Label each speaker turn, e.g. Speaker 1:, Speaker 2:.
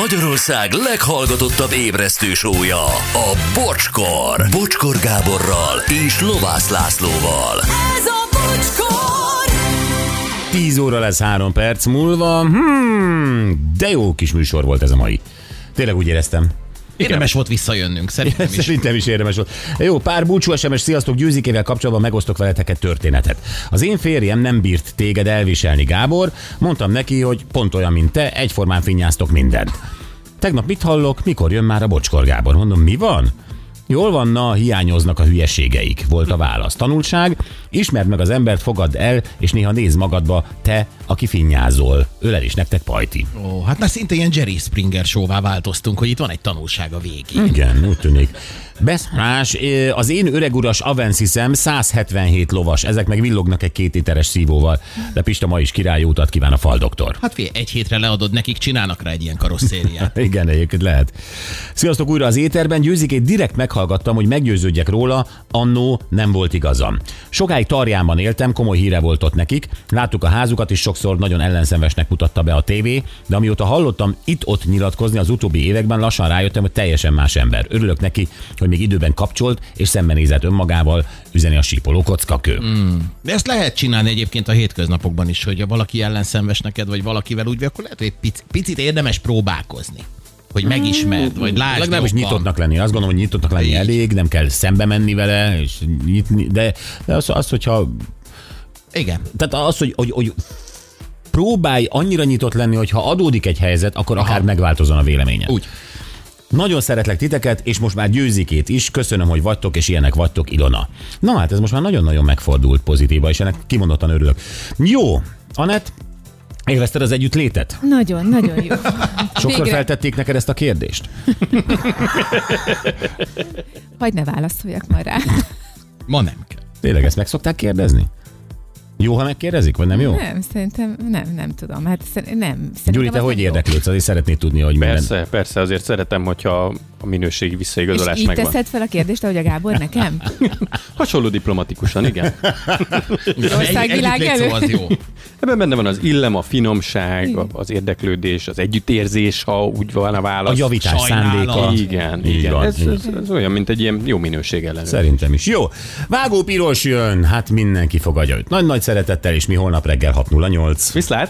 Speaker 1: Magyarország leghallgatottabb ébresztő sója, a Bocskor. Bocskor Gáborral és Lovász Lászlóval.
Speaker 2: Ez a bocskor!
Speaker 3: 10 óra lesz 3 perc múlva. Hmm, de jó kis műsor volt ez a mai. Tényleg úgy éreztem.
Speaker 4: Érdemes volt visszajönnünk, szerintem is.
Speaker 3: Szerintem is érdemes volt. Jó, pár búcsú SMS, sziasztok, győzikével kapcsolatban megosztok veletek egy történetet. Az én férjem nem bírt téged elviselni, Gábor. Mondtam neki, hogy pont olyan, mint te, egyformán finnyáztok mindent. Tegnap mit hallok, mikor jön már a bocskor, Gábor? Mondom, mi van? Jól van, na, hiányoznak a hülyeségeik, volt a válasz. Tanulság, ismerd meg az embert, fogad el, és néha nézd magadba, te, aki finnyázol. Ölel is nektek pajti.
Speaker 4: Ó, hát már szinte ilyen Jerry Springer showvá változtunk, hogy itt van egy tanulság a végén.
Speaker 3: Igen, úgy tűnik. Beszarás, ö, az én öreguras Avensiszem 177 lovas, ezek meg villognak egy két literes szívóval, de Pista ma is király jó utat kíván a faldoktor.
Speaker 4: Hát fél, egy hétre leadod nekik, csinálnak rá egy ilyen karosszériát.
Speaker 3: Igen, egyébként lehet. Sziasztok újra az éterben, győzikét direkt meghallgattam, hogy meggyőződjek róla, annó nem volt igazam. Sokáig Tarjánban éltem, komoly híre volt ott nekik, láttuk a házukat is sokszor nagyon ellenszenvesnek mutatta be a tévé, de amióta hallottam itt-ott nyilatkozni az utóbbi években, lassan rájöttem, hogy teljesen más ember. Örülök neki, hogy még időben kapcsolt és szembenézett önmagával, üzeni a sípoló kockakő. Mm.
Speaker 4: De ezt lehet csinálni egyébként a hétköznapokban is, hogy ha valaki ellenszenves neked, vagy valakivel úgy, vagy, akkor lehet, hogy egy pic- picit érdemes próbálkozni. Hogy megismerd, vagy lásd
Speaker 3: Legalábbis
Speaker 4: jobban.
Speaker 3: nyitottnak lenni. Azt gondolom, hogy nyitottnak lenni
Speaker 4: Így.
Speaker 3: elég, nem kell szembe menni vele, és nyitni, de, de az, az, hogyha
Speaker 4: Igen.
Speaker 3: Tehát az, hogy, hogy, hogy próbálj annyira nyitott lenni, hogy ha adódik egy helyzet, akkor akár
Speaker 4: Aha.
Speaker 3: megváltozon a véleményed.
Speaker 4: Úgy.
Speaker 3: Nagyon szeretlek titeket, és most már győzikét is. Köszönöm, hogy vagytok, és ilyenek vagytok, Ilona. Na hát ez most már nagyon-nagyon megfordult pozitíva, és ennek kimondottan örülök. Jó, Anett, élvezted az együttlétet?
Speaker 5: Nagyon, nagyon jó.
Speaker 3: Sokszor
Speaker 5: Végre.
Speaker 3: feltették neked ezt a kérdést?
Speaker 5: Hagy ne válaszoljak már rá.
Speaker 4: Ma nem kell.
Speaker 3: Tényleg ezt meg szokták kérdezni? Jó, ha megkérdezik, vagy nem jó?
Speaker 5: Nem, szerintem nem, nem tudom. Hát szer- nem. Szerintem
Speaker 3: Gyuri, te
Speaker 5: az
Speaker 3: hogy
Speaker 5: nem jó.
Speaker 3: érdeklődsz? Azért szeretnéd tudni, hogy minden...
Speaker 6: Persze, persze, azért szeretem, hogyha a minőségi visszaigazolás
Speaker 5: És így
Speaker 6: megvan.
Speaker 5: teszed fel a kérdést, ahogy a Gábor nekem?
Speaker 6: Hasonló diplomatikusan, igen.
Speaker 5: Országvilág
Speaker 4: Egy- együtt légy
Speaker 5: elő.
Speaker 4: szó, az jó.
Speaker 6: Ebben benne van az illem, a finomság, a- az érdeklődés, az együttérzés, ha úgy van a
Speaker 3: A
Speaker 6: válasz.
Speaker 3: javítás
Speaker 4: Sajnálom.
Speaker 3: szándéka.
Speaker 6: Igen,
Speaker 3: Így
Speaker 6: igen.
Speaker 3: van,
Speaker 6: ez,
Speaker 3: így
Speaker 6: ez, ez olyan, mint egy ilyen jó minőség ellenőr.
Speaker 3: Szerintem is. Jó. Vágó Piros jön, hát mindenki fogadja őt. Nagy-nagy szeretettel, és mi holnap reggel 6.08.
Speaker 6: Viszlát!